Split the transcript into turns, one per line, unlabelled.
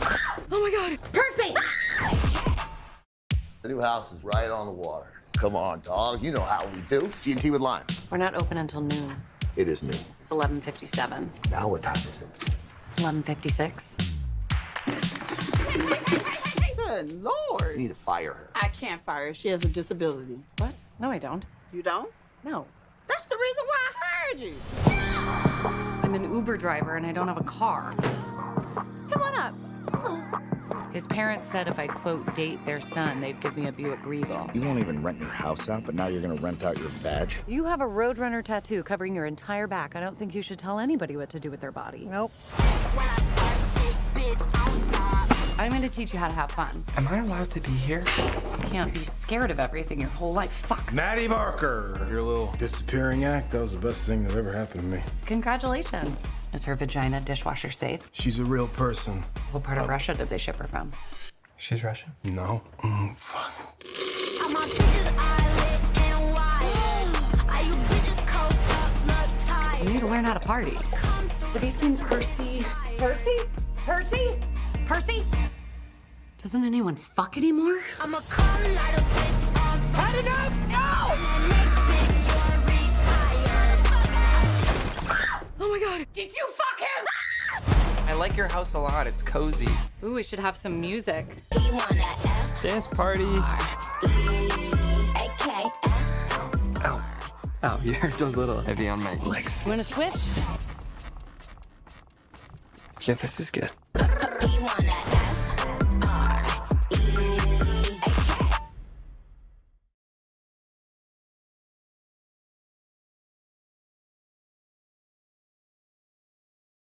my God. Percy!
The new house is right on the water. Come on, dog. You know how we do. G&T with lime.
We're not open until noon.
It is new.
It's 11.57.
Now what time is it?
11.56.
Good
I
lord.
need to fire her.
I can't fire her. She has a disability.
What? No, I don't.
You don't?
No.
That's the reason why I hired you.
I'm an Uber driver and I don't have a car.
Come on up.
His parents said if I, quote, date their son, they'd give me a Buick Regal.
You won't even rent your house out, but now you're gonna rent out your badge?
You have a Roadrunner tattoo covering your entire back. I don't think you should tell anybody what to do with their body.
Nope.
I'm going to teach you how to have fun.
Am I allowed to be here?
You can't be scared of everything your whole life. Fuck.
Maddie Barker, your little disappearing act, that was the best thing that ever happened to me.
Congratulations. Is her vagina dishwasher safe?
She's a real person.
What part of Russia did they ship her from?
She's Russian.
No? Mm, fuck.
You need to learn how to party. Have you seen Percy? Percy? Percy? Percy? Doesn't anyone fuck anymore? Oh my god. Did you fuck him?
I like your house a lot. It's cozy.
Ooh, we should have some music.
Dance party. Oh, you're a little heavy on my legs.
You wanna switch?
Yeah, this is good.